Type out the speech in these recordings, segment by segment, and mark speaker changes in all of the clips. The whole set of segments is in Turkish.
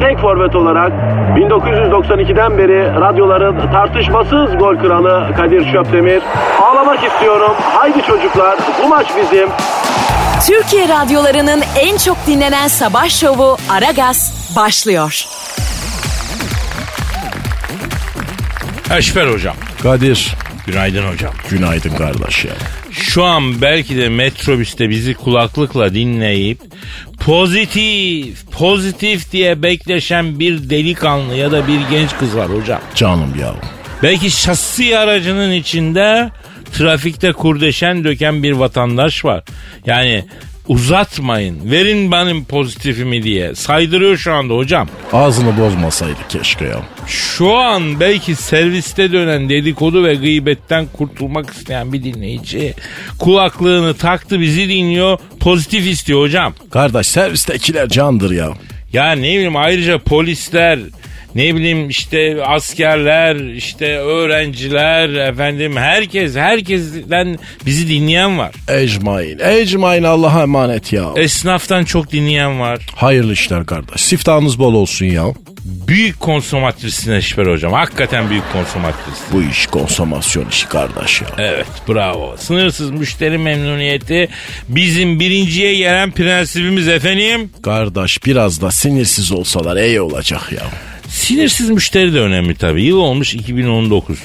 Speaker 1: tek forvet olarak 1992'den beri radyoların tartışmasız gol kralı Kadir Şöpdemir. Ağlamak istiyorum. Haydi çocuklar bu maç bizim.
Speaker 2: Türkiye radyolarının en çok dinlenen sabah şovu Aragaz başlıyor.
Speaker 3: Eşber hocam.
Speaker 4: Kadir.
Speaker 3: Günaydın hocam.
Speaker 4: Günaydın kardeş ya.
Speaker 3: Şu an belki de metrobüste bizi kulaklıkla dinleyip pozitif, pozitif diye bekleşen bir delikanlı ya da bir genç kız var hocam.
Speaker 4: Canım ya.
Speaker 3: Belki şasi aracının içinde trafikte kurdeşen döken bir vatandaş var. Yani uzatmayın, verin benim pozitifimi diye saydırıyor şu anda hocam.
Speaker 4: Ağzını bozmasaydı keşke ya.
Speaker 3: Şu an belki serviste dönen dedikodu ve gıybetten kurtulmak isteyen bir dinleyici kulaklığını taktı bizi dinliyor pozitif istiyor hocam.
Speaker 4: Kardeş servistekiler candır ya.
Speaker 3: Ya ne bileyim ayrıca polisler ne bileyim işte askerler işte öğrenciler efendim herkes herkesten bizi dinleyen var.
Speaker 4: Ecmain. Ecmain Allah'a emanet ya.
Speaker 3: E- Esnaftan çok dinleyen var.
Speaker 4: Hayırlı işler kardeş. Siftahınız bol olsun ya.
Speaker 3: Büyük konsomatrissin Eşber hocam. Hakikaten büyük konsomatris.
Speaker 4: Bu iş konsomasyon işi kardeş ya.
Speaker 3: Evet bravo. Sınırsız müşteri memnuniyeti bizim birinciye gelen prensibimiz efendim.
Speaker 4: Kardeş biraz da sinirsiz olsalar iyi olacak ya.
Speaker 3: Sinirsiz müşteri de önemli tabii. Yıl olmuş 2019.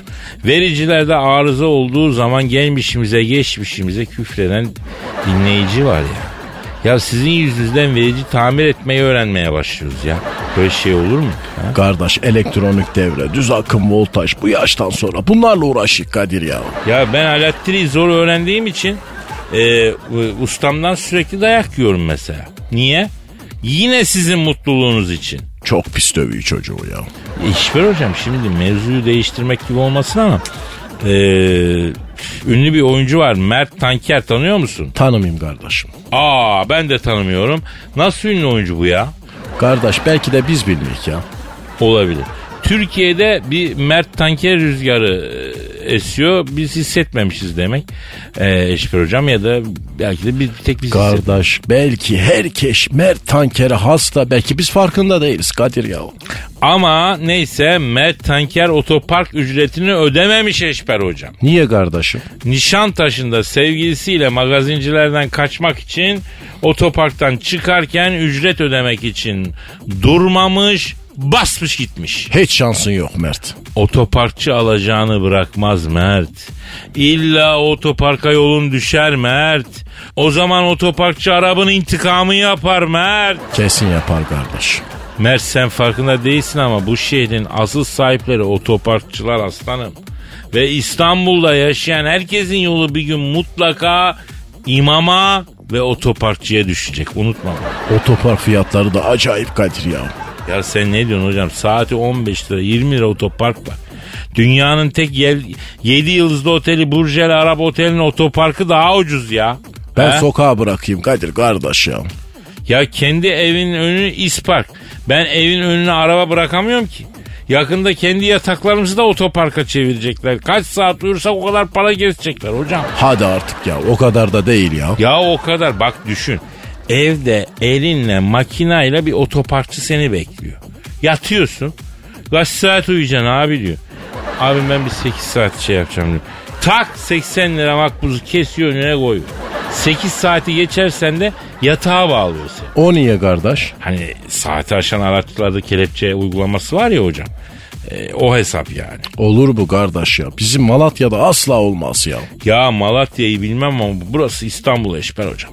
Speaker 3: Vericilerde arıza olduğu zaman gelmişimize geçmişimize küfreden dinleyici var ya. Ya sizin yüzünüzden verici tamir etmeyi öğrenmeye başlıyoruz ya. Böyle şey olur mu? Ha?
Speaker 4: Kardeş elektronik devre, düz akım voltaj bu yaştan sonra bunlarla uğraşık Kadir ya.
Speaker 3: Ya ben elektriği zor öğrendiğim için e, ustamdan sürekli dayak yiyorum mesela. Niye? Yine sizin mutluluğunuz için.
Speaker 4: Çok pis dövüyor çocuğu ya.
Speaker 3: İşver E, hocam şimdi mevzuyu değiştirmek gibi olmasın ama e, ünlü bir oyuncu var Mert Tanker tanıyor musun?
Speaker 4: Tanımayayım kardeşim.
Speaker 3: Aa ben de tanımıyorum. Nasıl ünlü oyuncu bu ya?
Speaker 4: Kardeş belki de biz bilmiyoruz ya.
Speaker 3: Olabilir. Türkiye'de bir Mert Tanker rüzgarı e, esiyor. Biz hissetmemişiz demek. Ee, Eşber hocam ya da belki de bir tek biz hissetmemişiz.
Speaker 4: Kardeş belki herkes Mert Tanker'e hasta belki biz farkında değiliz Kadir ya.
Speaker 3: Ama neyse Mert Tanker otopark ücretini ödememiş Eşber hocam.
Speaker 4: Niye kardeşim?
Speaker 3: Nişantaşı'nda sevgilisiyle magazincilerden kaçmak için otoparktan çıkarken ücret ödemek için durmamış basmış gitmiş.
Speaker 4: Hiç şansın yok Mert.
Speaker 3: Otoparkçı alacağını bırakmaz Mert. İlla otoparka yolun düşer Mert. O zaman otoparkçı Arap'ın intikamı yapar Mert.
Speaker 4: Kesin yapar kardeş.
Speaker 3: Mert sen farkında değilsin ama bu şehrin asıl sahipleri otoparkçılar aslanım. Ve İstanbul'da yaşayan herkesin yolu bir gün mutlaka imama ve otoparkçıya düşecek. Unutma. bunu.
Speaker 4: Otopark fiyatları da acayip Kadir ya.
Speaker 3: Ya sen ne diyorsun hocam? Saati 15 lira 20 lira otopark var. Dünyanın tek 7 yıldızlı oteli Burjel Arap Oteli'nin otoparkı daha ucuz ya.
Speaker 4: Ben
Speaker 3: He?
Speaker 4: sokağa bırakayım Kadir kardeş ya.
Speaker 3: Ya kendi evinin önü ispark. Ben evin önüne araba bırakamıyorum ki. Yakında kendi yataklarımızı da otoparka çevirecekler. Kaç saat uyursak o kadar para kesecekler hocam.
Speaker 4: Hadi artık ya o kadar da değil ya.
Speaker 3: Ya o kadar bak düşün. Evde elinle makinayla bir otoparkçı seni bekliyor. Yatıyorsun. Kaç saat uyuyacaksın abi diyor. Abi ben bir 8 saat şey yapacağım diyor. Tak 80 lira makbuzu kesiyor önüne koyuyor. 8 saati geçersen de yatağa bağlıyor seni.
Speaker 4: O niye kardeş?
Speaker 3: Hani saati aşan araçlarda kelepçe uygulaması var ya hocam. E, o hesap yani.
Speaker 4: Olur bu kardeş ya. Bizim Malatya'da asla olmaz ya.
Speaker 3: Ya Malatya'yı bilmem ama burası İstanbul Eşber hocam.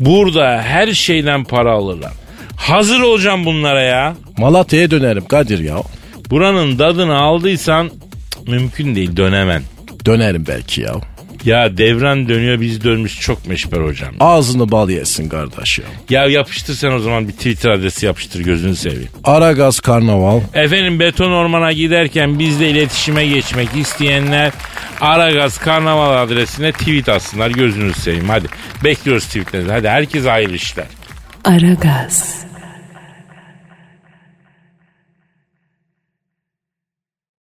Speaker 3: Burada her şeyden para alırlar. Hazır olacağım bunlara ya.
Speaker 4: Malatya'ya dönerim Kadir ya.
Speaker 3: Buranın dadını aldıysan cık, Mümkün değil dönemen.
Speaker 4: Dönerim belki ya.
Speaker 3: Ya devran dönüyor biz dönmüş çok meşber hocam.
Speaker 4: Ağzını bal yesin kardeş ya.
Speaker 3: Ya yapıştır sen o zaman bir Twitter adresi yapıştır gözünü seveyim.
Speaker 4: Aragaz Karnaval.
Speaker 3: Efendim beton ormana giderken bizle iletişime geçmek isteyenler Aragaz Karnaval adresine tweet atsınlar gözünü seveyim hadi. Bekliyoruz tweetlerinizi hadi herkes hayırlı işler.
Speaker 2: Aragaz.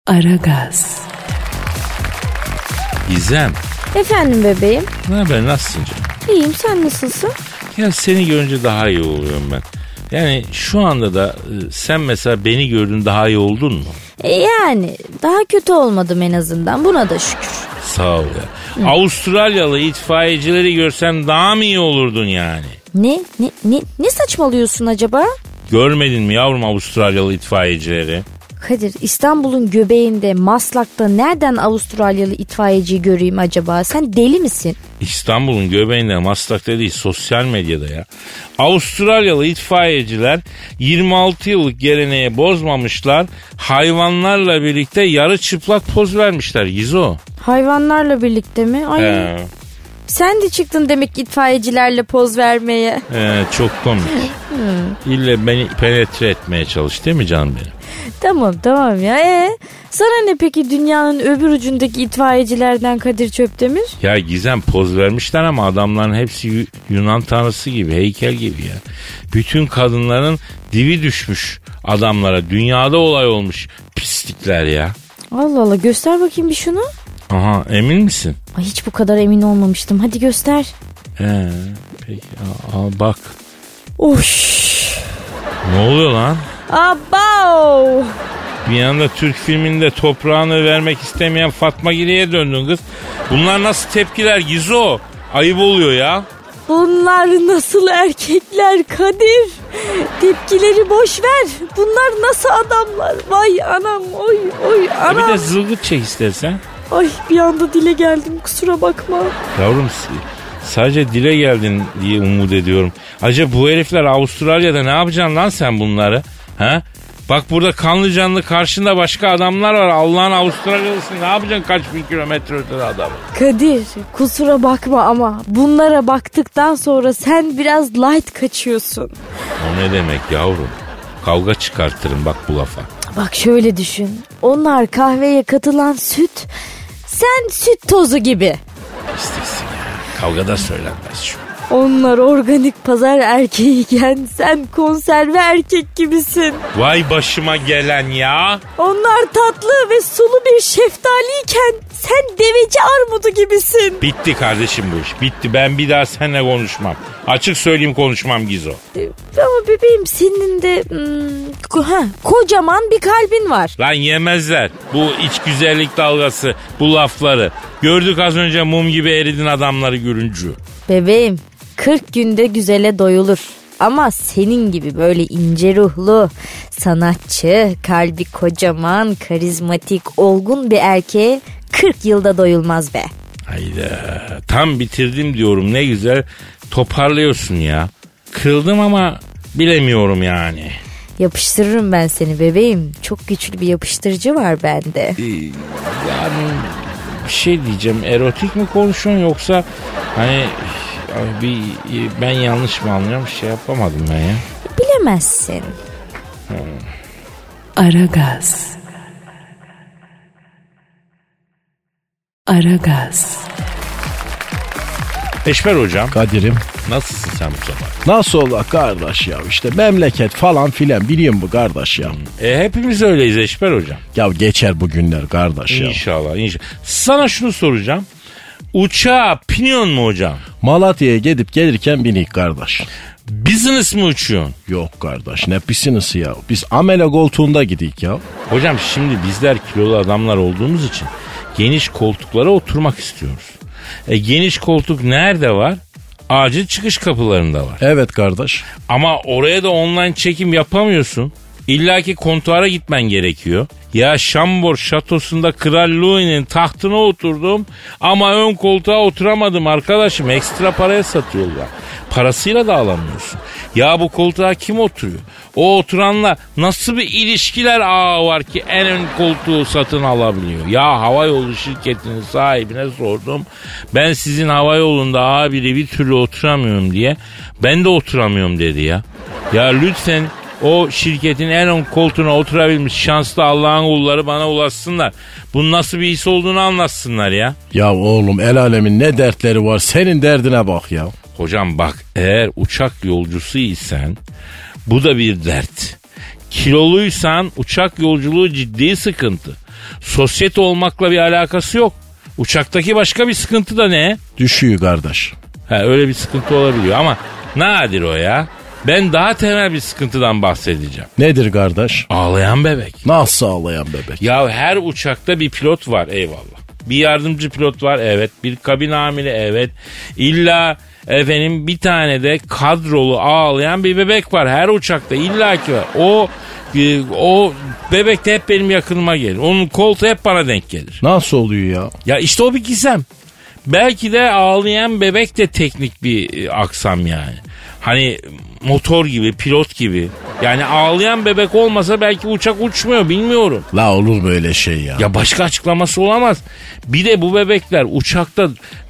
Speaker 2: Aragaz.
Speaker 3: Gizem
Speaker 5: Efendim bebeğim.
Speaker 3: ne haber nasılsın canım?
Speaker 5: İyiyim sen nasılsın?
Speaker 3: Ya seni görünce daha iyi oluyorum ben. Yani şu anda da e, sen mesela beni gördün daha iyi oldun mu?
Speaker 5: E, yani daha kötü olmadım en azından buna da şükür.
Speaker 3: Sağ ol ya. Avustralyalı itfaiyecileri görsen daha mı iyi olurdun yani?
Speaker 5: Ne ne ne, ne saçmalıyorsun acaba?
Speaker 3: Görmedin mi yavrum Avustralyalı itfaiyecileri?
Speaker 5: Kadir İstanbul'un göbeğinde Maslak'ta nereden Avustralyalı itfaiyeciyi göreyim acaba? Sen deli misin?
Speaker 3: İstanbul'un göbeğinde Maslak'ta değil sosyal medyada ya. Avustralyalı itfaiyeciler 26 yıllık geleneği bozmamışlar. Hayvanlarla birlikte yarı çıplak poz vermişler Gizo.
Speaker 5: Hayvanlarla birlikte mi? Ay
Speaker 3: He,
Speaker 5: sen de çıktın demek ki itfaiyecilerle poz vermeye.
Speaker 3: he, çok komik. İlle beni penetre etmeye çalış değil mi canım benim?
Speaker 5: Tamam tamam ya. Ee, sana ne peki dünyanın öbür ucundaki itfaiyecilerden Kadir Çöpdemir?
Speaker 3: Ya Gizem poz vermişler ama adamların hepsi Yu- Yunan tanrısı gibi, heykel gibi ya. Bütün kadınların divi düşmüş adamlara. Dünyada olay olmuş pislikler ya.
Speaker 5: Allah Allah göster bakayım bir şunu.
Speaker 3: Aha emin misin?
Speaker 5: Ay hiç bu kadar emin olmamıştım. Hadi göster.
Speaker 3: Ee, peki al, al bak.
Speaker 5: Oş.
Speaker 3: Ne oluyor lan?
Speaker 5: Abav.
Speaker 3: Bir anda Türk filminde toprağını vermek istemeyen Fatma Giri'ye döndün kız. Bunlar nasıl tepkiler Gizo? Ayıp oluyor ya.
Speaker 5: Bunlar nasıl erkekler Kadir? Tepkileri boş ver. Bunlar nasıl adamlar? Vay anam oy oy
Speaker 3: E bir
Speaker 5: anam.
Speaker 3: de zılgıt çek istersen.
Speaker 5: Ay bir anda dile geldim kusura bakma.
Speaker 3: Yavrum s- sadece dile geldin diye umut ediyorum. Acaba bu herifler Avustralya'da ne yapacaksın lan sen bunları? Ha? Bak burada kanlı canlı karşında başka adamlar var. Allah'ın Avustralyalısı ne yapacaksın kaç bin kilometre ötede adamı?
Speaker 5: Kadir kusura bakma ama bunlara baktıktan sonra sen biraz light kaçıyorsun.
Speaker 3: O ne demek yavrum? Kavga çıkartırım bak bu lafa.
Speaker 5: Bak şöyle düşün. Onlar kahveye katılan süt. Sen süt tozu gibi.
Speaker 3: İstesin ya. Kavgada söylenmez şu.
Speaker 5: Onlar organik pazar erkeğiyken sen konserve erkek gibisin.
Speaker 3: Vay başıma gelen ya.
Speaker 5: Onlar tatlı ve sulu bir şeftaliyken sen deveci armudu gibisin.
Speaker 3: Bitti kardeşim bu iş. Bitti. Ben bir daha seninle konuşmam. Açık söyleyeyim konuşmam Gizo.
Speaker 5: Ama bebeğim senin de hmm, ko- ha, kocaman bir kalbin var.
Speaker 3: Lan yemezler bu iç güzellik dalgası, bu lafları. Gördük az önce mum gibi eridin adamları görüncü.
Speaker 5: Bebeğim 40 günde güzele doyulur. Ama senin gibi böyle ince ruhlu, sanatçı, kalbi kocaman, karizmatik, olgun bir erkeğe 40 yılda doyulmaz be.
Speaker 3: Hayda tam bitirdim diyorum ne güzel toparlıyorsun ya. Kırıldım ama bilemiyorum yani.
Speaker 5: Yapıştırırım ben seni bebeğim. Çok güçlü bir yapıştırıcı var bende.
Speaker 3: Yani bir şey diyeceğim erotik mi konuşuyorsun yoksa hani ay bir ben yanlış mı anlıyorum şey yapamadım ben ya.
Speaker 5: Bilemezsin.
Speaker 2: Aragaz. Aragaz.
Speaker 3: Eşber hocam
Speaker 4: Kadir'im.
Speaker 3: nasılsın sen bu sabah?
Speaker 4: Nasıl ola kardeş ya işte memleket falan filan biliyor musun kardeş ya.
Speaker 3: E, hepimiz öyleyiz Eşber hocam.
Speaker 4: Ya geçer bu günler kardeş ya.
Speaker 3: İnşallah inşallah. Sana şunu soracağım. Uçağa biniyorsun mu hocam?
Speaker 4: Malatya'ya gidip gelirken binik kardeş.
Speaker 3: Business mi uçuyorsun?
Speaker 4: Yok kardeş ne pisinisi ya. Biz amele koltuğunda gidik ya.
Speaker 3: Hocam şimdi bizler kilolu adamlar olduğumuz için geniş koltuklara oturmak istiyoruz. E, geniş koltuk nerede var? Acil çıkış kapılarında var.
Speaker 4: Evet kardeş.
Speaker 3: Ama oraya da online çekim yapamıyorsun. İlla ki kontuara gitmen gerekiyor. Ya Şambor şatosunda Kral Louis'nin tahtına oturdum ama ön koltuğa oturamadım arkadaşım. Ekstra paraya satıyorlar. Parasıyla da alamıyorsun. Ya bu koltuğa kim oturuyor? O oturanla nasıl bir ilişkiler ağı var ki en ön koltuğu satın alabiliyor? Ya havayolu şirketinin sahibine sordum. Ben sizin havayolunda abiyle bir türlü oturamıyorum diye. Ben de oturamıyorum dedi ya. Ya lütfen o şirketin en ön koltuğuna oturabilmiş şanslı Allah'ın kulları bana ulaşsınlar. Bunun nasıl bir his olduğunu anlatsınlar ya.
Speaker 4: Ya oğlum el alemin ne dertleri var senin derdine bak ya.
Speaker 3: Hocam bak eğer uçak yolcusu isen bu da bir dert. Kiloluysan uçak yolculuğu ciddi sıkıntı. Sosyete olmakla bir alakası yok. Uçaktaki başka bir sıkıntı da ne?
Speaker 4: Düşüyor kardeş.
Speaker 3: Ha, öyle bir sıkıntı olabiliyor ama nadir o ya. Ben daha temel bir sıkıntıdan bahsedeceğim.
Speaker 4: Nedir kardeş?
Speaker 3: Ağlayan bebek.
Speaker 4: Nasıl ağlayan bebek?
Speaker 3: Ya her uçakta bir pilot var eyvallah. Bir yardımcı pilot var evet. Bir kabin amiri evet. İlla efendim bir tane de kadrolu ağlayan bir bebek var. Her uçakta illaki var. O e, o bebek de hep benim yakınıma gelir. Onun koltuğu hep bana denk gelir.
Speaker 4: Nasıl oluyor ya?
Speaker 3: Ya işte o bir gizem. Belki de ağlayan bebek de teknik bir e, aksam yani. Hani motor gibi, pilot gibi. Yani ağlayan bebek olmasa belki uçak uçmuyor bilmiyorum.
Speaker 4: La olur böyle şey ya.
Speaker 3: Ya başka açıklaması olamaz. Bir de bu bebekler uçakta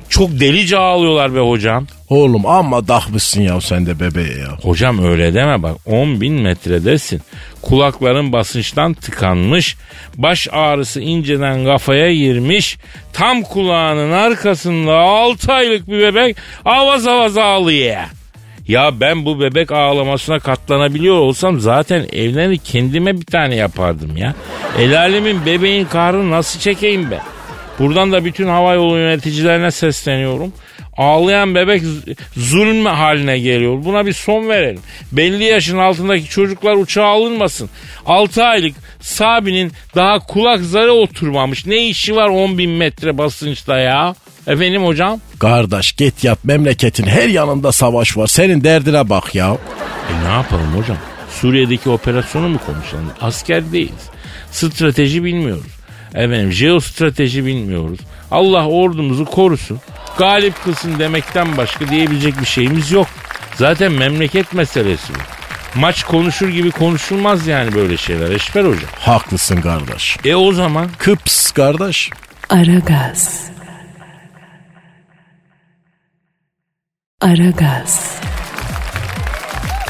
Speaker 3: çok delice ağlıyorlar be hocam.
Speaker 4: Oğlum amma takmışsın ya sen de bebeğe ya.
Speaker 3: Hocam öyle deme bak 10 bin metredesin. Kulakların basınçtan tıkanmış. Baş ağrısı inceden kafaya girmiş. Tam kulağının arkasında 6 aylık bir bebek avaz avaz ağlıyor. Ya ben bu bebek ağlamasına katlanabiliyor olsam zaten evlenir kendime bir tane yapardım ya. El alemin bebeğin kahrını nasıl çekeyim ben? Buradan da bütün hava yolu yöneticilerine sesleniyorum. Ağlayan bebek z- zulm haline geliyor. Buna bir son verelim. Belli yaşın altındaki çocuklar uçağa alınmasın. 6 aylık Sabi'nin daha kulak zarı oturmamış. Ne işi var 10 bin metre basınçta ya? Efendim hocam?
Speaker 4: Kardeş git yat memleketin her yanında savaş var. Senin derdine bak ya.
Speaker 3: E ne yapalım hocam? Suriye'deki operasyonu mu konuşalım? Asker değiliz. Strateji bilmiyoruz. Efendim jeostrateji bilmiyoruz. Allah ordumuzu korusun. Galip kılsın demekten başka diyebilecek bir şeyimiz yok. Zaten memleket meselesi bu. Maç konuşur gibi konuşulmaz yani böyle şeyler Eşber hocam.
Speaker 4: Haklısın kardeş.
Speaker 3: E o zaman
Speaker 4: Kıps kardeş.
Speaker 6: Aragaz. Aragaz.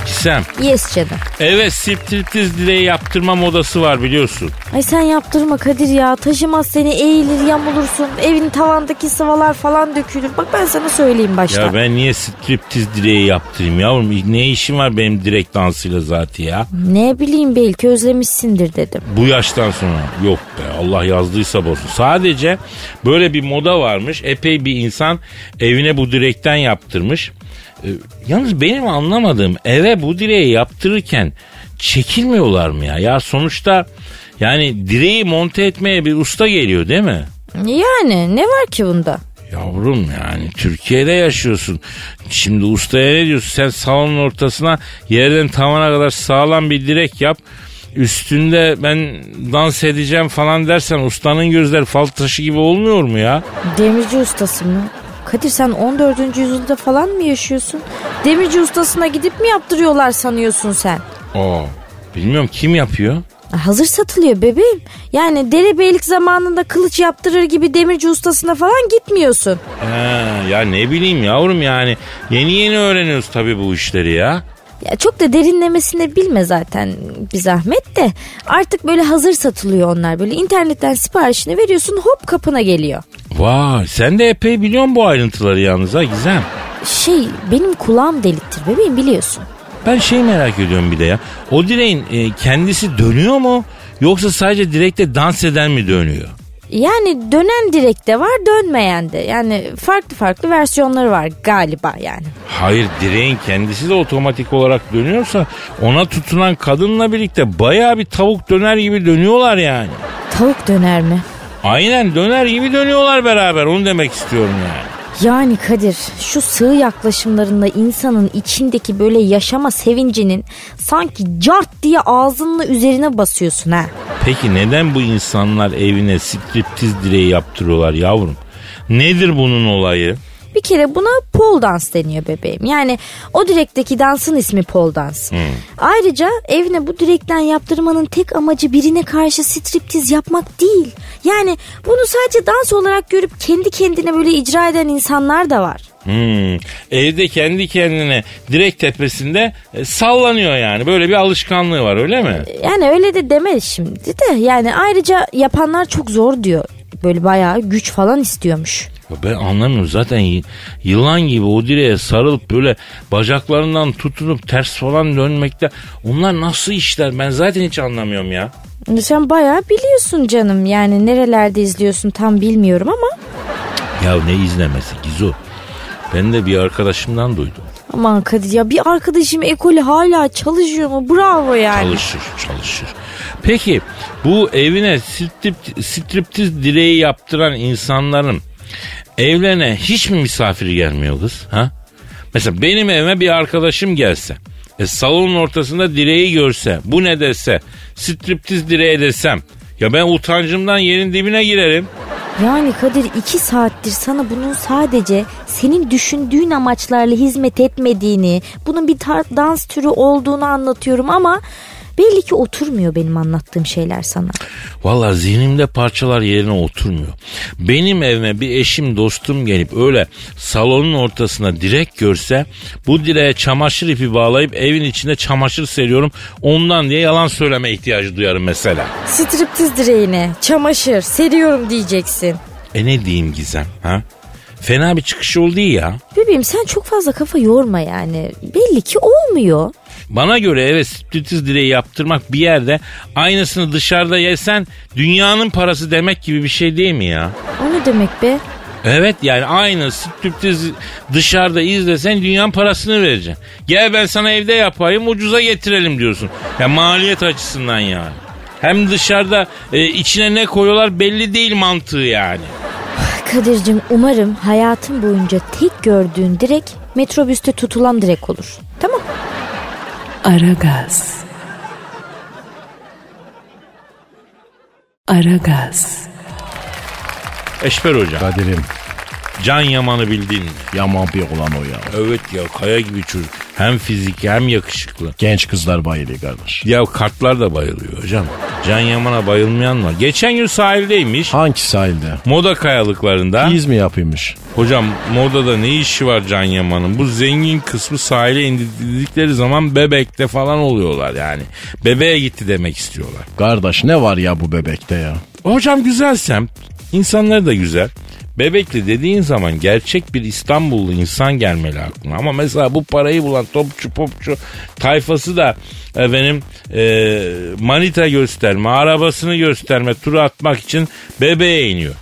Speaker 3: Gizem.
Speaker 5: Yes canım.
Speaker 3: Evet striptiz direği yaptırma modası var biliyorsun.
Speaker 5: Ay sen yaptırma Kadir ya. Taşımaz seni eğilir yamulursun. Evin tavandaki sıvalar falan dökülür. Bak ben sana söyleyeyim baştan.
Speaker 3: Ya ben niye striptiz direği yaptırayım yavrum? Ne işim var benim direkt dansıyla zaten ya?
Speaker 5: Ne bileyim belki özlemişsindir dedim.
Speaker 3: Bu yaştan sonra yok be Allah yazdıysa bozsun. Sadece böyle bir moda varmış. Epey bir insan evine bu direkten yaptırmış. Ee, yalnız benim anlamadığım eve bu direği yaptırırken çekilmiyorlar mı ya? Ya sonuçta yani direği monte etmeye bir usta geliyor değil mi?
Speaker 5: Yani ne var ki bunda?
Speaker 3: Yavrum yani Türkiye'de yaşıyorsun. Şimdi ustaya ne diyorsun? Sen salonun ortasına yerden tavana kadar sağlam bir direk yap. Üstünde ben dans edeceğim falan dersen ustanın gözleri fal taşı gibi olmuyor mu ya?
Speaker 5: Demirci ustası mı? Kadir sen 14. yüzyılda falan mı yaşıyorsun? Demirci ustasına gidip mi yaptırıyorlar sanıyorsun sen?
Speaker 3: Aa. Bilmiyorum kim yapıyor?
Speaker 5: Hazır satılıyor bebeğim. Yani derebeylik zamanında kılıç yaptırır gibi demirci ustasına falan gitmiyorsun.
Speaker 3: He, ya ne bileyim yavrum yani. Yeni yeni öğreniyoruz tabii bu işleri ya.
Speaker 5: Ya çok da derinlemesine bilme zaten bir zahmet de. Artık böyle hazır satılıyor onlar. Böyle internetten siparişini veriyorsun hop kapına geliyor.
Speaker 3: Vay sen de epey biliyorsun bu ayrıntıları yalnız ha Gizem.
Speaker 5: Şey benim kulağım deliktir bebeğim biliyorsun.
Speaker 3: Ben şey merak ediyorum bir de ya. O direğin e, kendisi dönüyor mu? Yoksa sadece direkte dans eden mi dönüyor?
Speaker 5: Yani dönen direk de var dönmeyen de. Yani farklı farklı versiyonları var galiba yani.
Speaker 3: Hayır direğin kendisi de otomatik olarak dönüyorsa ona tutunan kadınla birlikte bayağı bir tavuk döner gibi dönüyorlar yani.
Speaker 5: Tavuk döner mi?
Speaker 3: Aynen döner gibi dönüyorlar beraber onu demek istiyorum yani.
Speaker 5: Yani Kadir şu sığ yaklaşımlarında insanın içindeki böyle yaşama sevincinin sanki cart diye ağzının üzerine basıyorsun ha.
Speaker 3: Peki neden bu insanlar evine striptiz direği yaptırıyorlar yavrum? Nedir bunun olayı?
Speaker 5: Bir kere buna pole dans deniyor bebeğim. Yani o direkteki dansın ismi pole dans. Ayrıca evine bu direkten yaptırmanın tek amacı birine karşı striptiz yapmak değil. Yani bunu sadece dans olarak görüp kendi kendine böyle icra eden insanlar da var.
Speaker 3: Hmm. Evde kendi kendine direkt tepesinde e, sallanıyor yani. Böyle bir alışkanlığı var öyle mi?
Speaker 5: Yani öyle de deme şimdi de yani ayrıca yapanlar çok zor diyor. Böyle bayağı güç falan istiyormuş.
Speaker 3: Ya Ben anlamıyorum zaten y- yılan gibi o direğe sarılıp böyle bacaklarından tutunup ters falan dönmekte. Onlar nasıl işler ben zaten hiç anlamıyorum ya.
Speaker 5: Sen bayağı biliyorsun canım yani nerelerde izliyorsun tam bilmiyorum ama
Speaker 3: Ya ne izlemesi Gizu. Ben de bir arkadaşımdan duydum.
Speaker 5: aman Kadir ya bir arkadaşım ekolü hala çalışıyor mu bravo yani.
Speaker 3: Çalışır çalışır. Peki bu evine strip, striptiz direği yaptıran insanların evlerine hiç mi misafir gelmiyor kız? Ha? Mesela benim evime bir arkadaşım gelse. E, salonun ortasında direği görse. Bu ne dese. Striptiz direği desem. Ya ben utancımdan yerin dibine girerim.
Speaker 5: Yani Kadir iki saattir sana bunun sadece senin düşündüğün amaçlarla hizmet etmediğini, bunun bir tar- dans türü olduğunu anlatıyorum ama belli ki oturmuyor benim anlattığım şeyler sana.
Speaker 3: Valla zihnimde parçalar yerine oturmuyor. Benim evime bir eşim dostum gelip öyle salonun ortasına direk görse bu direğe çamaşır ipi bağlayıp evin içinde çamaşır seriyorum ondan diye yalan söyleme ihtiyacı duyarım mesela.
Speaker 5: Striptiz direğine çamaşır seriyorum diyeceksin.
Speaker 3: E ne diyeyim Gizem ha? Fena bir çıkış oldu ya.
Speaker 5: Bebeğim sen çok fazla kafa yorma yani. Belli ki olmuyor.
Speaker 3: Bana göre evet striptiz direği yaptırmak bir yerde aynısını dışarıda yesen dünyanın parası demek gibi bir şey değil mi ya?
Speaker 5: O ne demek be?
Speaker 3: Evet yani aynı striptiz dışarıda izlesen dünyanın parasını vereceksin. Gel ben sana evde yapayım ucuza getirelim diyorsun. Ya maliyet açısından yani. Hem dışarıda e, içine ne koyuyorlar belli değil mantığı yani.
Speaker 5: Kadir'cim umarım hayatın boyunca tek gördüğün direk metrobüste tutulan direk olur. Tamam.
Speaker 6: Aragaz. Aragaz.
Speaker 3: Eşber hocam.
Speaker 4: Kadir'im
Speaker 3: Can Yaman'ı bildin mi?
Speaker 4: yaman bir olan o ya.
Speaker 3: Evet ya kaya gibi çocuk. Hem fizik hem yakışıklı.
Speaker 4: Genç kızlar bayılıyor kardeş.
Speaker 3: Ya kartlar da bayılıyor hocam. Can Yaman'a bayılmayan var. Geçen gün sahildeymiş.
Speaker 4: Hangi sahilde?
Speaker 3: Moda kayalıklarında.
Speaker 4: İz mi yapıyormuş?
Speaker 3: Hocam modada ne işi var Can Yaman'ın? Bu zengin kısmı sahile indirdikleri zaman bebekte falan oluyorlar yani. Bebeğe gitti demek istiyorlar.
Speaker 4: Kardeş ne var ya bu bebekte ya?
Speaker 3: Hocam güzel semt. İnsanları da güzel. Bebekli dediğin zaman gerçek bir İstanbullu insan gelmeli aklına. Ama mesela bu parayı bulan topçu popçu tayfası da benim manita gösterme, arabasını gösterme, turu atmak için bebeğe iniyor.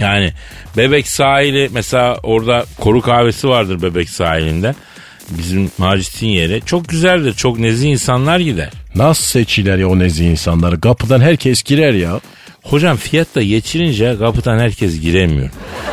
Speaker 3: Yani Bebek sahili mesela orada koru kahvesi vardır Bebek sahilinde. Bizim Macit'in yeri. Çok güzeldir. Çok nezih insanlar gider.
Speaker 4: Nasıl seçiler ya o nezih insanları? Kapıdan herkes girer ya.
Speaker 3: Hocam fiyat da geçirince kapıdan herkes giremiyor.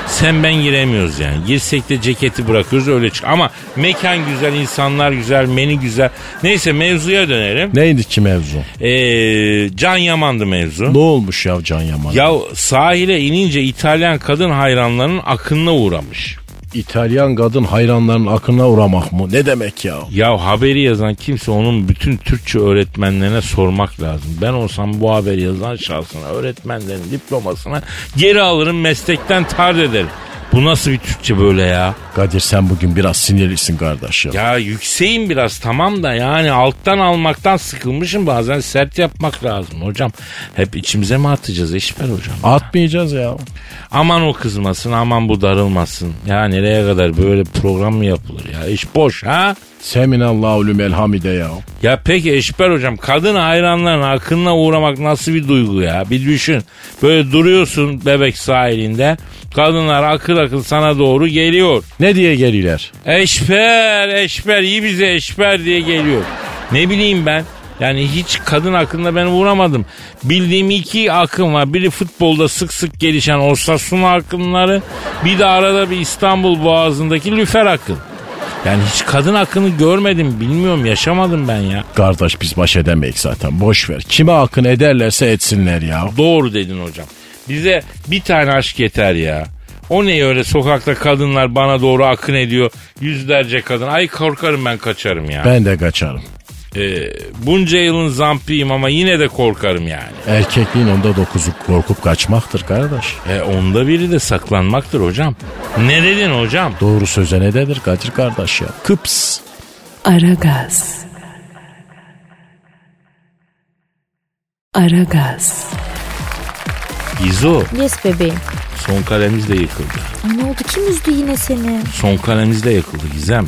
Speaker 3: Sen ben giremiyoruz yani. Girsek de ceketi bırakıyoruz öyle çık. Ama mekan güzel, insanlar güzel, menü güzel. Neyse mevzuya dönelim.
Speaker 4: Neydi ki mevzu?
Speaker 3: Ee, Can Yaman'dı mevzu.
Speaker 4: Ne olmuş ya Can Yaman?
Speaker 3: Ya sahile inince İtalyan kadın hayranlarının akınına uğramış.
Speaker 4: İtalyan kadın hayranların akına uğramak mı? Ne demek ya?
Speaker 3: Ya haberi yazan kimse onun bütün Türkçe öğretmenlerine sormak lazım. Ben olsam bu haberi yazan şahsına, öğretmenlerin diplomasına geri alırım meslekten tard ederim. Bu nasıl bir Türkçe böyle ya?
Speaker 4: Kadir sen bugün biraz sinirlisin kardeş ya.
Speaker 3: Ya yükseğim biraz tamam da yani alttan almaktan sıkılmışım bazen sert yapmak lazım hocam. Hep içimize mi atacağız Eşber hocam?
Speaker 4: Atmayacağız ya.
Speaker 3: Aman o kızmasın aman bu darılmasın. Ya nereye kadar böyle program mı yapılır ya? İş boş ha?
Speaker 4: Seminallahu lümel hamide ya.
Speaker 3: Ya peki Eşber hocam kadın hayranların akınına uğramak nasıl bir duygu ya? Bir düşün. Böyle duruyorsun bebek sahilinde. Kadınlar akıl akıl sana doğru geliyor.
Speaker 4: Ne diye geliler?
Speaker 3: Eşber, eşber iyi bize eşber diye geliyor. Ne bileyim ben. Yani hiç kadın hakkında ben uğramadım. Bildiğim iki akım var. Biri futbolda sık sık gelişen Osasuna akımları. Bir de arada bir İstanbul Boğazı'ndaki Lüfer akım. Yani hiç kadın akını görmedim. Bilmiyorum yaşamadım ben ya.
Speaker 4: Kardeş biz baş edemeyiz zaten boş ver. Kime akın ederlerse etsinler ya.
Speaker 3: Doğru dedin hocam. Bize bir tane aşk yeter ya. O ne öyle sokakta kadınlar bana doğru akın ediyor. Yüzlerce kadın. Ay korkarım ben kaçarım ya.
Speaker 4: Ben de kaçarım.
Speaker 3: Ee, bunca yılın zampiyim ama yine de korkarım yani.
Speaker 4: Erkekliğin onda dokuzu korkup kaçmaktır kardeş.
Speaker 3: E, onda biri de saklanmaktır hocam. Ne dedin hocam?
Speaker 4: Doğru söze ne denir Kadir kardeş ya? Kıps.
Speaker 6: Aragaz. Aragaz.
Speaker 3: İzo
Speaker 5: Yes bebeğim.
Speaker 3: son kalemiz de yıkıldı.
Speaker 5: Ay ne oldu kim üzdü yine seni?
Speaker 3: Son kalemiz de yakıldı Gizem.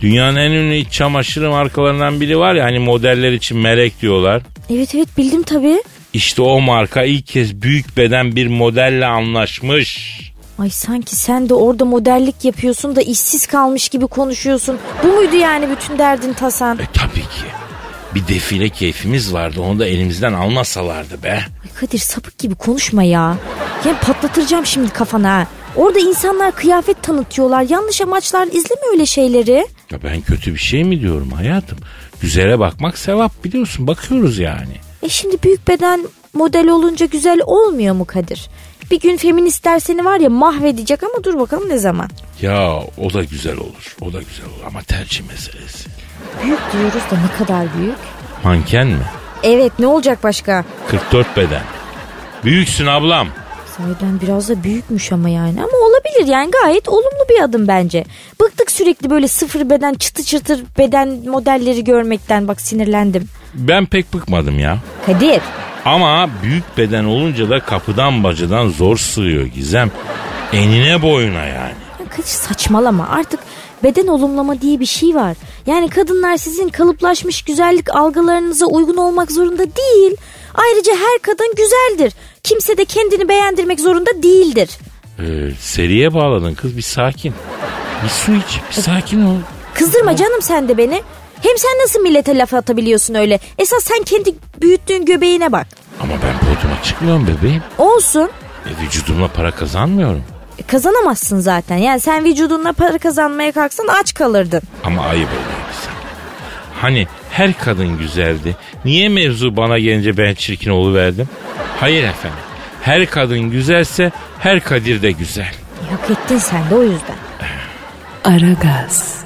Speaker 3: Dünyanın en ünlü iç çamaşırı markalarından biri var ya hani modeller için melek diyorlar.
Speaker 5: Evet evet bildim tabii.
Speaker 3: İşte o marka ilk kez büyük beden bir modelle anlaşmış.
Speaker 5: Ay sanki sen de orada modellik yapıyorsun da işsiz kalmış gibi konuşuyorsun. Bu muydu yani bütün derdin tasan?
Speaker 3: E tabii ki. Bir defile keyfimiz vardı onu da elimizden almasalardı be.
Speaker 5: Ay Kadir sapık gibi konuşma ya. Ya patlatıracağım şimdi kafana. ha. Orada insanlar kıyafet tanıtıyorlar. Yanlış amaçlar izleme öyle şeyleri.
Speaker 3: Ya ben kötü bir şey mi diyorum hayatım? Güzele bakmak sevap biliyorsun bakıyoruz yani.
Speaker 5: E şimdi büyük beden model olunca güzel olmuyor mu Kadir? Bir gün feministler seni var ya mahvedecek ama dur bakalım ne zaman.
Speaker 3: Ya o da güzel olur. O da güzel olur ama tercih meselesi.
Speaker 5: Büyük diyoruz da ne kadar büyük.
Speaker 3: Manken mi?
Speaker 5: Evet ne olacak başka?
Speaker 3: 44 beden. Büyüksün ablam.
Speaker 5: Sahiden biraz da büyükmüş ama yani. Ama olabilir yani gayet olumlu bir adım bence. Bıktık sürekli böyle sıfır beden çıtı çıtır beden modelleri görmekten bak sinirlendim.
Speaker 3: Ben pek bıkmadım ya.
Speaker 5: Kadir
Speaker 3: Ama büyük beden olunca da kapıdan bacadan zor sığıyor Gizem. Enine boyuna yani.
Speaker 5: Ya Kadir saçmalama artık beden olumlama diye bir şey var. Yani kadınlar sizin kalıplaşmış güzellik algılarınıza uygun olmak zorunda değil. Ayrıca her kadın güzeldir. Kimse de kendini beğendirmek zorunda değildir.
Speaker 3: Ee, seriye bağladın kız bir sakin. Bir su iç bir sakin ol.
Speaker 5: Kızdırma canım sen de beni. Hem sen nasıl millete laf atabiliyorsun öyle? Esas sen kendi büyüttüğün göbeğine bak.
Speaker 3: Ama ben podyuma çıkmıyorum bebeğim.
Speaker 5: Olsun.
Speaker 3: E, vücudumla para kazanmıyorum.
Speaker 5: E, Kazanamazsın zaten. Yani sen vücudunla para kazanmaya kalksan aç kalırdın.
Speaker 3: Ama ayıp oluyor Gizem. Hani her kadın güzeldi. Niye mevzu bana gelince ben çirkin oluverdim? Hayır efendim. Her kadın güzelse her Kadir de güzel.
Speaker 5: E, Hak ettin sen de o yüzden.
Speaker 6: Aragaz.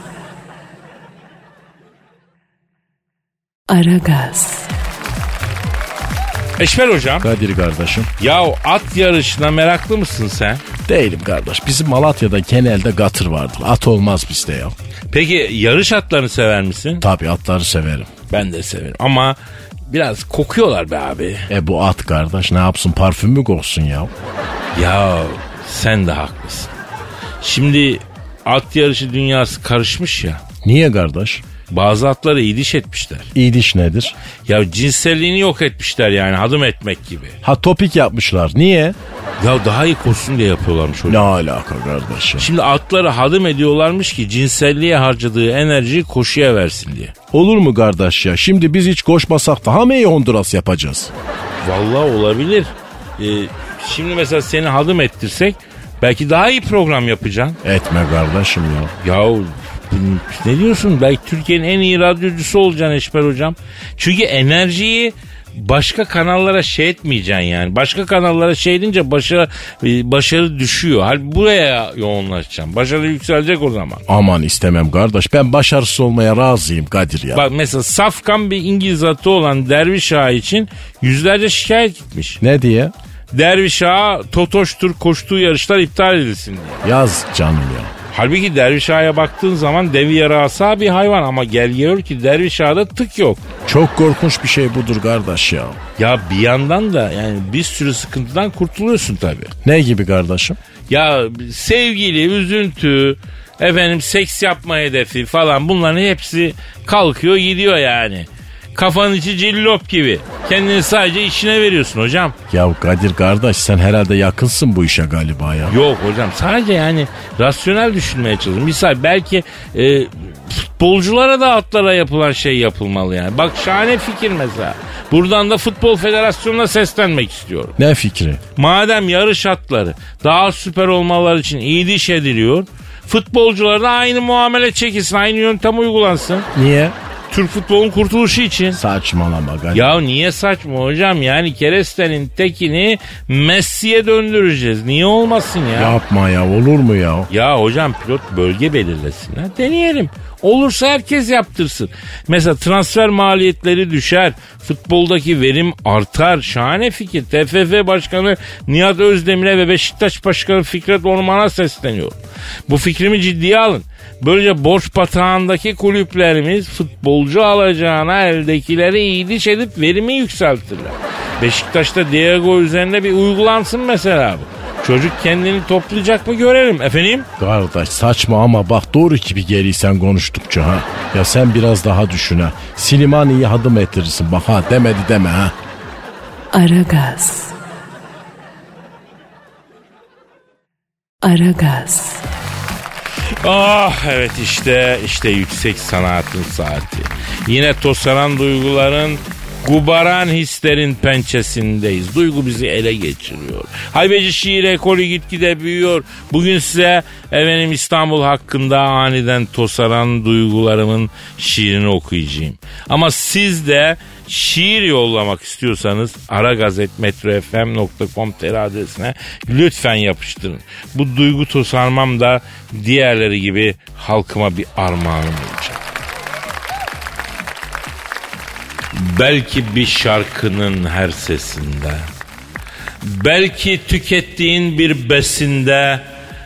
Speaker 6: Aragaz.
Speaker 3: Eşber hocam.
Speaker 4: Kadir kardeşim.
Speaker 3: Ya at yarışına meraklı mısın sen?
Speaker 4: Değilim kardeş. Bizim Malatya'da genelde gatır vardır. At olmaz bizde ya.
Speaker 3: Peki yarış atlarını sever misin?
Speaker 4: Tabii atları severim.
Speaker 3: Ben de severim ama biraz kokuyorlar be abi.
Speaker 4: E bu at kardeş ne yapsın parfüm mü koksun ya?
Speaker 3: Ya sen de haklısın. Şimdi at yarışı dünyası karışmış ya.
Speaker 4: Niye kardeş?
Speaker 3: Bazı atları idiş etmişler.
Speaker 4: İyi diş nedir?
Speaker 3: Ya cinselliğini yok etmişler yani hadım etmek gibi.
Speaker 4: Ha topik yapmışlar. Niye?
Speaker 3: Ya daha iyi koşsun diye yapıyorlarmış
Speaker 4: Ne
Speaker 3: hocam.
Speaker 4: alaka kardeşim?
Speaker 3: Şimdi atları hadım ediyorlarmış ki cinselliğe harcadığı enerjiyi koşuya versin diye.
Speaker 4: Olur mu kardeş ya? Şimdi biz hiç koşmasak daha mı iyi Honduras yapacağız?
Speaker 3: Vallahi olabilir. Ee, şimdi mesela seni hadım ettirsek belki daha iyi program yapacaksın.
Speaker 4: Etme kardeşim ya.
Speaker 3: Yahu bu- ne diyorsun? Belki Türkiye'nin en iyi radyocusu olacaksın Eşber Hocam. Çünkü enerjiyi başka kanallara şey etmeyeceksin yani. Başka kanallara şey edince başarı, e, başarı düşüyor. Halbuki buraya yoğunlaşacaksın. Başarı yükselecek o zaman.
Speaker 4: Aman istemem kardeş. Ben başarısız olmaya razıyım Kadir ya.
Speaker 3: Bak mesela safkan bir İngiliz atı olan Derviş Ağa için yüzlerce şikayet gitmiş.
Speaker 4: Ne diye?
Speaker 3: Derviş Ağa Totoş'tur koştuğu yarışlar iptal edilsin diye.
Speaker 4: Yaz canım ya.
Speaker 3: Halbuki derviş ağaya baktığın zaman devi yarasa bir hayvan ama gel gör ki derviş ağada tık yok.
Speaker 4: Çok korkunç bir şey budur kardeş ya.
Speaker 3: Ya bir yandan da yani bir sürü sıkıntıdan kurtuluyorsun tabii.
Speaker 4: Ne gibi kardeşim?
Speaker 3: Ya sevgili, üzüntü, efendim seks yapma hedefi falan bunların hepsi kalkıyor gidiyor yani. Kafanın içi cillop gibi. Kendini sadece işine veriyorsun hocam.
Speaker 4: Ya Kadir kardeş sen herhalde yakınsın bu işe galiba ya.
Speaker 3: Yok hocam sadece yani rasyonel düşünmeye çalışın. Misal belki e, futbolculara da atlara yapılan şey yapılmalı yani. Bak şahane fikir mesela. Buradan da Futbol Federasyonu'na seslenmek istiyorum.
Speaker 4: Ne fikri?
Speaker 3: Madem yarış atları daha süper olmaları için iyi diş ediliyor. Futbolculara da aynı muamele çekilsin, aynı yöntem uygulansın.
Speaker 4: Niye?
Speaker 3: Türk futbolun kurtuluşu için.
Speaker 4: Saçmalama gari.
Speaker 3: Ya niye saçma hocam yani kerestenin tekini Messi'ye döndüreceğiz. Niye olmasın ya? Ya,
Speaker 4: Yapma ya olur mu ya?
Speaker 3: hocam pilot bölge belirlesin. Ha, deneyelim. Olursa herkes yaptırsın. Mesela transfer maliyetleri düşer. Futboldaki verim artar. Şahane fikir. TFF Başkanı Nihat Özdemir'e ve Beşiktaş Başkanı Fikret Orman'a sesleniyorum. Bu fikrimi ciddiye alın. Böylece borç batağındaki kulüplerimiz futbolcu alacağına eldekileri iyiliş edip verimi yükseltirler. Beşiktaş'ta Diego üzerinde bir uygulansın mesela bu. Çocuk kendini toplayacak mı görelim efendim.
Speaker 4: Kardeş saçma ama bak doğru gibi geliysen konuştukça ha. Ya sen biraz daha düşün ha. Silimani'yi hadım ettirirsin bak ha demedi deme ha.
Speaker 6: Aragaz. Aragaz.
Speaker 3: Ah evet işte işte yüksek sanatın saati. Yine tosaran duyguların gubaran hislerin pençesindeyiz. Duygu bizi ele geçiriyor. Haybeci şiir ekolü gitgide büyüyor. Bugün size efendim İstanbul hakkında aniden tosaran duygularımın şiirini okuyacağım. Ama siz de şiir yollamak istiyorsanız aragazetmetrofm.com.tr adresine lütfen yapıştırın. Bu duygu tosarmam da diğerleri gibi halkıma bir armağanım olacak. Belki bir şarkının her sesinde Belki tükettiğin bir besinde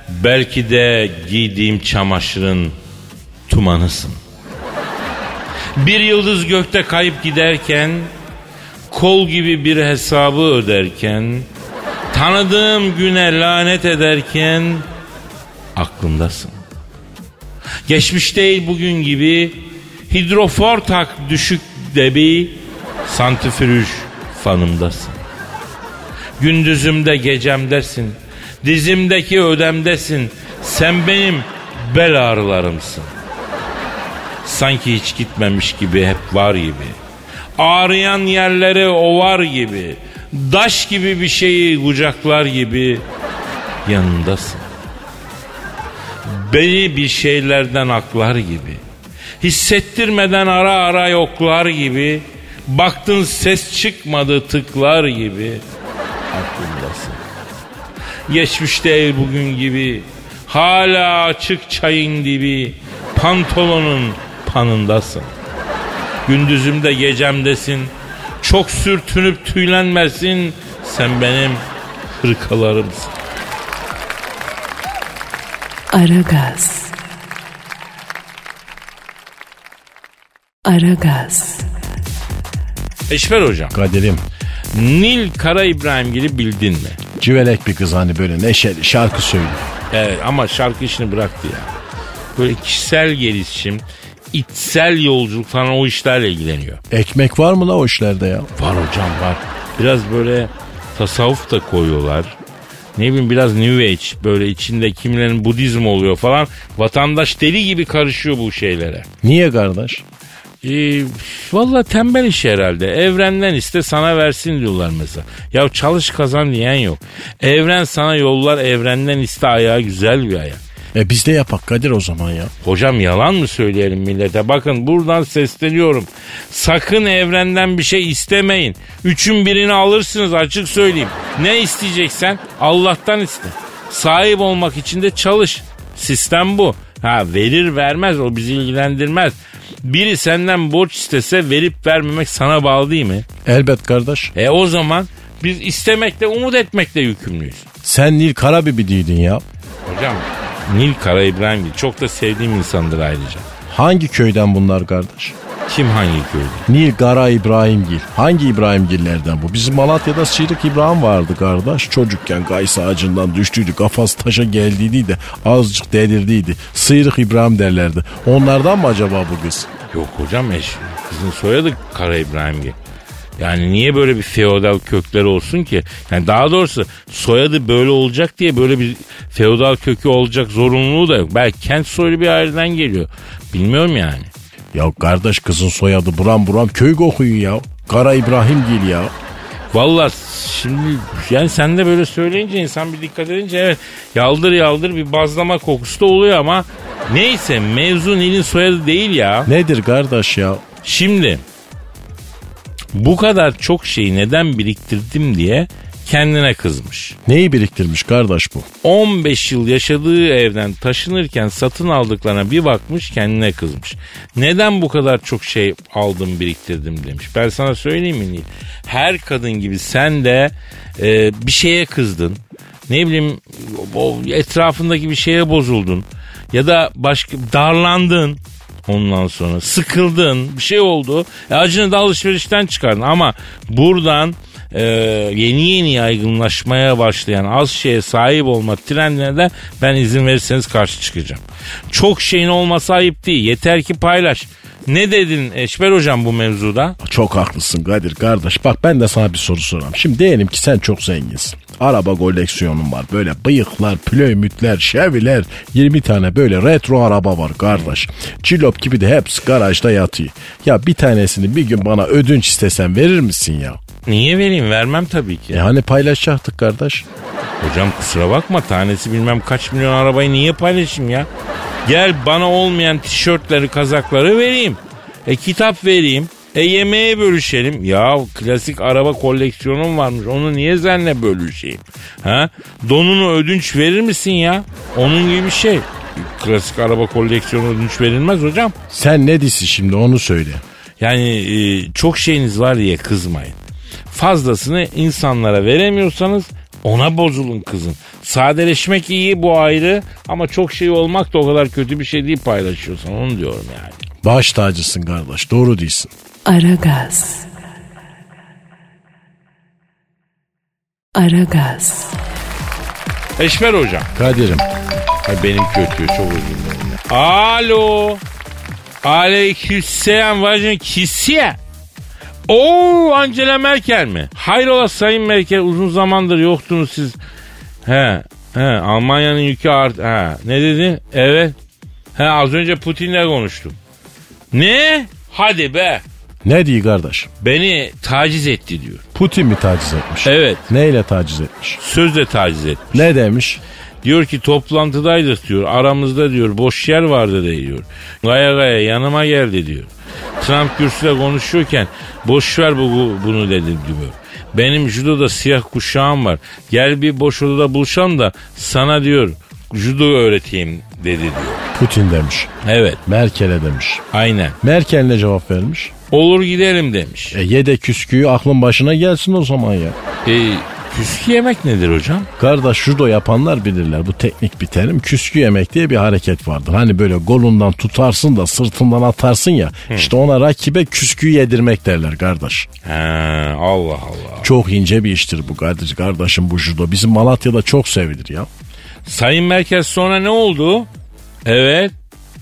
Speaker 3: Belki de giydiğim çamaşırın tumanısın Bir yıldız gökte kayıp giderken Kol gibi bir hesabı öderken Tanıdığım güne lanet ederken Aklımdasın Geçmiş değil bugün gibi hidrofor tak düşük debi santifüj fanımdasın. Gündüzümde gecemdesin. Dizimdeki ödemdesin. Sen benim bel ağrılarımsın. Sanki hiç gitmemiş gibi hep var gibi. Ağrıyan yerleri ovar gibi. Daş gibi bir şeyi kucaklar gibi yanındasın beni bir şeylerden aklar gibi. Hissettirmeden ara ara yoklar gibi. Baktın ses çıkmadı tıklar gibi. Aklımdasın. Geçmiş değil bugün gibi. Hala açık çayın dibi. Pantolonun panındasın. Gündüzümde gecemdesin. Çok sürtünüp tüylenmesin. Sen benim hırkalarımsın.
Speaker 6: Aragaz. Aragaz.
Speaker 3: Eşber hocam.
Speaker 4: Kadir'im
Speaker 3: Nil Kara İbrahimgil'i bildin mi?
Speaker 4: civelek bir kız hani böyle neşeli şarkı söylüyor.
Speaker 3: Evet ama şarkı işini bıraktı ya. Böyle kişisel gelişim, içsel yolculuk falan o işlerle ilgileniyor.
Speaker 4: Ekmek var mı la o işlerde ya?
Speaker 3: Var hocam var. Biraz böyle tasavvuf da koyuyorlar. Ne bileyim biraz New Age böyle içinde kimilerin Budizm oluyor falan. Vatandaş deli gibi karışıyor bu şeylere.
Speaker 4: Niye kardeş?
Speaker 3: Ee, Valla tembel iş herhalde. Evrenden iste sana versin diyorlar mesela. Ya çalış kazan diyen yok. Evren sana yollar evrenden iste ayağı güzel bir ayak.
Speaker 4: E biz de yapak Kadir o zaman ya.
Speaker 3: Hocam yalan mı söyleyelim millete? Bakın buradan sesleniyorum. Sakın evrenden bir şey istemeyin. Üçün birini alırsınız açık söyleyeyim. Ne isteyeceksen Allah'tan iste. Sahip olmak için de çalış. Sistem bu. Ha verir vermez o bizi ilgilendirmez. Biri senden borç istese verip vermemek sana bağlı değil mi?
Speaker 4: Elbet kardeş.
Speaker 3: E o zaman biz istemekle umut etmekle yükümlüyüz.
Speaker 4: Sen Nil Karabibi değildin ya.
Speaker 3: Hocam Nil Kara İbrahimgil çok da sevdiğim insandır ayrıca.
Speaker 4: Hangi köyden bunlar kardeş?
Speaker 3: Kim hangi köyde?
Speaker 4: Nil Kara İbrahimgil. Hangi İbrahimgillerden bu? Bizim Malatya'da Sıyrık İbrahim vardı kardeş. Çocukken kayısı ağacından düştüydü. Kafası taşa geldiydi de azıcık delirdiydi. Sıyrık İbrahim derlerdi. Onlardan mı acaba bu kız?
Speaker 3: Yok hocam eş, kızın soyadı Kara İbrahimgil. Yani niye böyle bir feodal kökleri olsun ki? Yani daha doğrusu soyadı böyle olacak diye böyle bir feodal kökü olacak zorunluluğu da yok. Belki kent soylu bir aileden geliyor. Bilmiyorum yani.
Speaker 4: Ya kardeş kızın soyadı buram buram köy kokuyor ya. Kara İbrahimgil ya.
Speaker 3: Vallahi şimdi yani sen de böyle söyleyince insan bir dikkat edince evet yaldır yaldır bir bazlama kokusu da oluyor ama neyse mevzu Nil'in soyadı değil ya.
Speaker 4: Nedir kardeş ya?
Speaker 3: Şimdi bu kadar çok şeyi neden biriktirdim diye kendine kızmış.
Speaker 4: Neyi biriktirmiş kardeş bu?
Speaker 3: 15 yıl yaşadığı evden taşınırken satın aldıklarına bir bakmış kendine kızmış. Neden bu kadar çok şey aldım biriktirdim demiş. Ben sana söyleyeyim mi Nil? Her kadın gibi sen de e, bir şeye kızdın. Ne bileyim o etrafındaki bir şeye bozuldun. Ya da başka darlandın. Ondan sonra sıkıldın bir şey oldu. E, acını da alışverişten çıkardın ama buradan e, yeni yeni yaygınlaşmaya başlayan az şeye sahip olma trendine de ben izin verirseniz karşı çıkacağım. Çok şeyin olması ayıp değil yeter ki paylaş. Ne dedin Eşber hocam bu mevzuda?
Speaker 4: Çok haklısın Kadir kardeş. Bak ben de sana bir soru sorayım. Şimdi diyelim ki sen çok zenginsin. Araba koleksiyonun var. Böyle bıyıklar, plöymütler, şeviler. 20 tane böyle retro araba var kardeş. Cilop gibi de hepsi garajda yatıyor. Ya bir tanesini bir gün bana ödünç istesen verir misin ya?
Speaker 3: Niye vereyim vermem tabii ki.
Speaker 4: E hani paylaşacaktık kardeş?
Speaker 3: Hocam kusura bakma tanesi bilmem kaç milyon arabayı niye paylaşayım ya? Gel bana olmayan tişörtleri kazakları vereyim. E kitap vereyim. E yemeğe bölüşelim. Ya klasik araba koleksiyonum varmış onu niye seninle bölüşeyim? Ha? Donunu ödünç verir misin ya? Onun gibi bir şey. Klasik araba koleksiyonu ödünç verilmez hocam.
Speaker 4: Sen ne diyorsun şimdi onu söyle.
Speaker 3: Yani e, çok şeyiniz var diye kızmayın. Fazlasını insanlara veremiyorsanız ona bozulun kızın. Sadeleşmek iyi bu ayrı ama çok şey olmak da o kadar kötü bir şey değil paylaşıyorsan onu diyorum yani.
Speaker 4: Baş tacısın kardeş doğru diyorsun.
Speaker 6: Aragaz. Aragaz.
Speaker 3: Eşmer hocam.
Speaker 4: Kadir'im
Speaker 3: Ay benim kötü çok özür dilerim. ya. Alo. Aleykümselam vacın kisiye. Oo Angela Merkel mi? Hayrola Sayın Merkel uzun zamandır yoktunuz siz. He, he Almanya'nın yükü art. He, ne dedin? Evet. He az önce Putin'le konuştum. Ne? Hadi be.
Speaker 4: ne diyor kardeş?
Speaker 3: Beni taciz etti diyor.
Speaker 4: Putin mi taciz etmiş?
Speaker 3: Evet.
Speaker 4: Neyle taciz etmiş?
Speaker 3: Sözle taciz etti.
Speaker 4: Ne demiş?
Speaker 3: Diyor ki toplantıdaydık diyor. Aramızda diyor boş yer vardı de diyor. Gaya gaya yanıma geldi diyor. Trump kürsüde konuşuyorken boş ver bu, bunu dedi diyor. Benim judoda siyah kuşağım var. Gel bir boş odada buluşalım da sana diyor judo öğreteyim dedi diyor.
Speaker 4: Putin demiş.
Speaker 3: Evet
Speaker 4: Merkel'e demiş.
Speaker 3: aynen.
Speaker 4: Merkel ne cevap vermiş?
Speaker 3: Olur gidelim demiş.
Speaker 4: E ye de küsküyü aklın başına gelsin o zaman ya.
Speaker 3: E, küskü yemek nedir hocam?
Speaker 4: Kardeş judo yapanlar bilirler bu teknik bir terim. Küskü yemek diye bir hareket vardır. Hani böyle golundan tutarsın da sırtından atarsın ya. İşte ona rakibe küsküyü yedirmek derler kardeş.
Speaker 3: He, Allah Allah.
Speaker 4: Çok ince bir iştir bu kardeş. Kardeşim bu judo. Bizim Malatya'da çok sevilir ya.
Speaker 3: Sayın Merkez sonra ne oldu? Evet.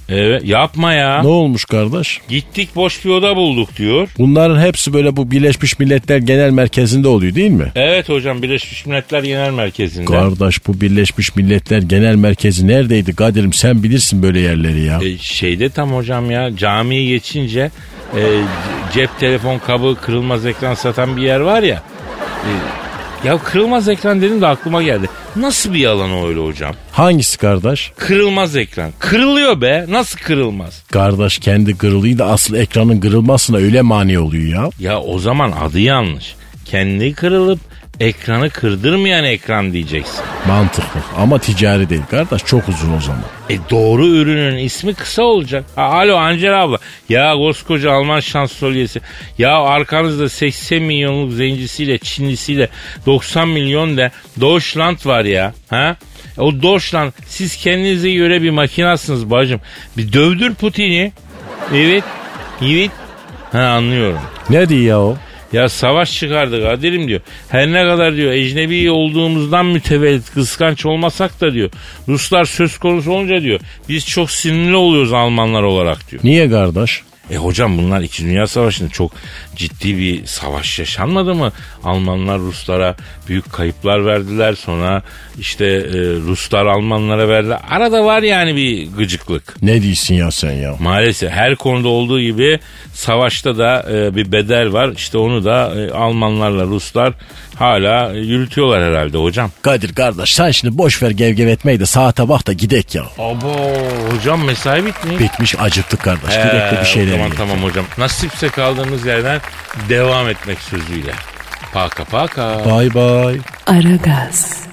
Speaker 3: Evet yapma ya.
Speaker 4: Ne olmuş kardeş?
Speaker 3: Gittik boş bir oda bulduk diyor.
Speaker 4: Bunların hepsi böyle bu Birleşmiş Milletler Genel Merkezi'nde oluyor değil mi?
Speaker 3: Evet hocam Birleşmiş Milletler Genel Merkezi'nde.
Speaker 4: Kardeş bu Birleşmiş Milletler Genel Merkezi neredeydi Kadir'im sen bilirsin böyle yerleri ya.
Speaker 3: E, şeyde tam hocam ya camiye geçince e, cep telefon kabı kırılmaz ekran satan bir yer var ya. E, ya kırılmaz ekran dedim de aklıma geldi. Nasıl bir yalan o öyle hocam?
Speaker 4: Hangisi kardeş?
Speaker 3: Kırılmaz ekran. Kırılıyor be. Nasıl kırılmaz?
Speaker 4: Kardeş kendi kırılıydı asıl ekranın kırılmasına öyle mani oluyor ya.
Speaker 3: Ya o zaman adı yanlış. Kendi kırılıp ekranı kırdırmayan ekran diyeceksin.
Speaker 4: Mantıklı ama ticari değil kardeş çok uzun o zaman.
Speaker 3: E doğru ürünün ismi kısa olacak. Ha, alo Angela abla. Ya koskoca Alman şansölyesi. Ya arkanızda 80 milyonluk zencisiyle, Çinlisiyle 90 milyon de Deutschland var ya. Ha? E, O Deutschland siz kendinize göre bir makinasınız bacım. Bir dövdür Putin'i. Evet. Evet. Ha anlıyorum.
Speaker 4: Ne diyor ya o?
Speaker 3: Ya savaş çıkardı Kadir'im diyor. Her ne kadar diyor ecnebi olduğumuzdan mütevellit kıskanç olmasak da diyor. Ruslar söz konusu olunca diyor biz çok sinirli oluyoruz Almanlar olarak diyor.
Speaker 4: Niye kardeş?
Speaker 3: E hocam bunlar 2. Dünya Savaşı'nda çok ciddi bir savaş yaşanmadı mı? Almanlar Ruslara büyük kayıplar verdiler. Sonra işte e, Ruslar Almanlara verdiler. Arada var yani bir gıcıklık.
Speaker 4: Ne diyorsun ya sen ya?
Speaker 3: Maalesef her konuda olduğu gibi savaşta da e, bir bedel var. İşte onu da e, Almanlarla Ruslar hala e, yürütüyorlar herhalde hocam.
Speaker 4: Kadir kardeş sen şimdi boş ver gevgev etmeyi de saate bak da gidek ya.
Speaker 3: Abo hocam mesai bitmiyor.
Speaker 4: Bitmiş acıktık kardeş. Gidek de bir şey şeyler
Speaker 3: zaman
Speaker 4: Peki.
Speaker 3: Ee, tamam hocam. Nasipse kaldığımız yerden devam etmek sözüyle. Paka paka.
Speaker 4: Bay bay.
Speaker 6: Aragaz.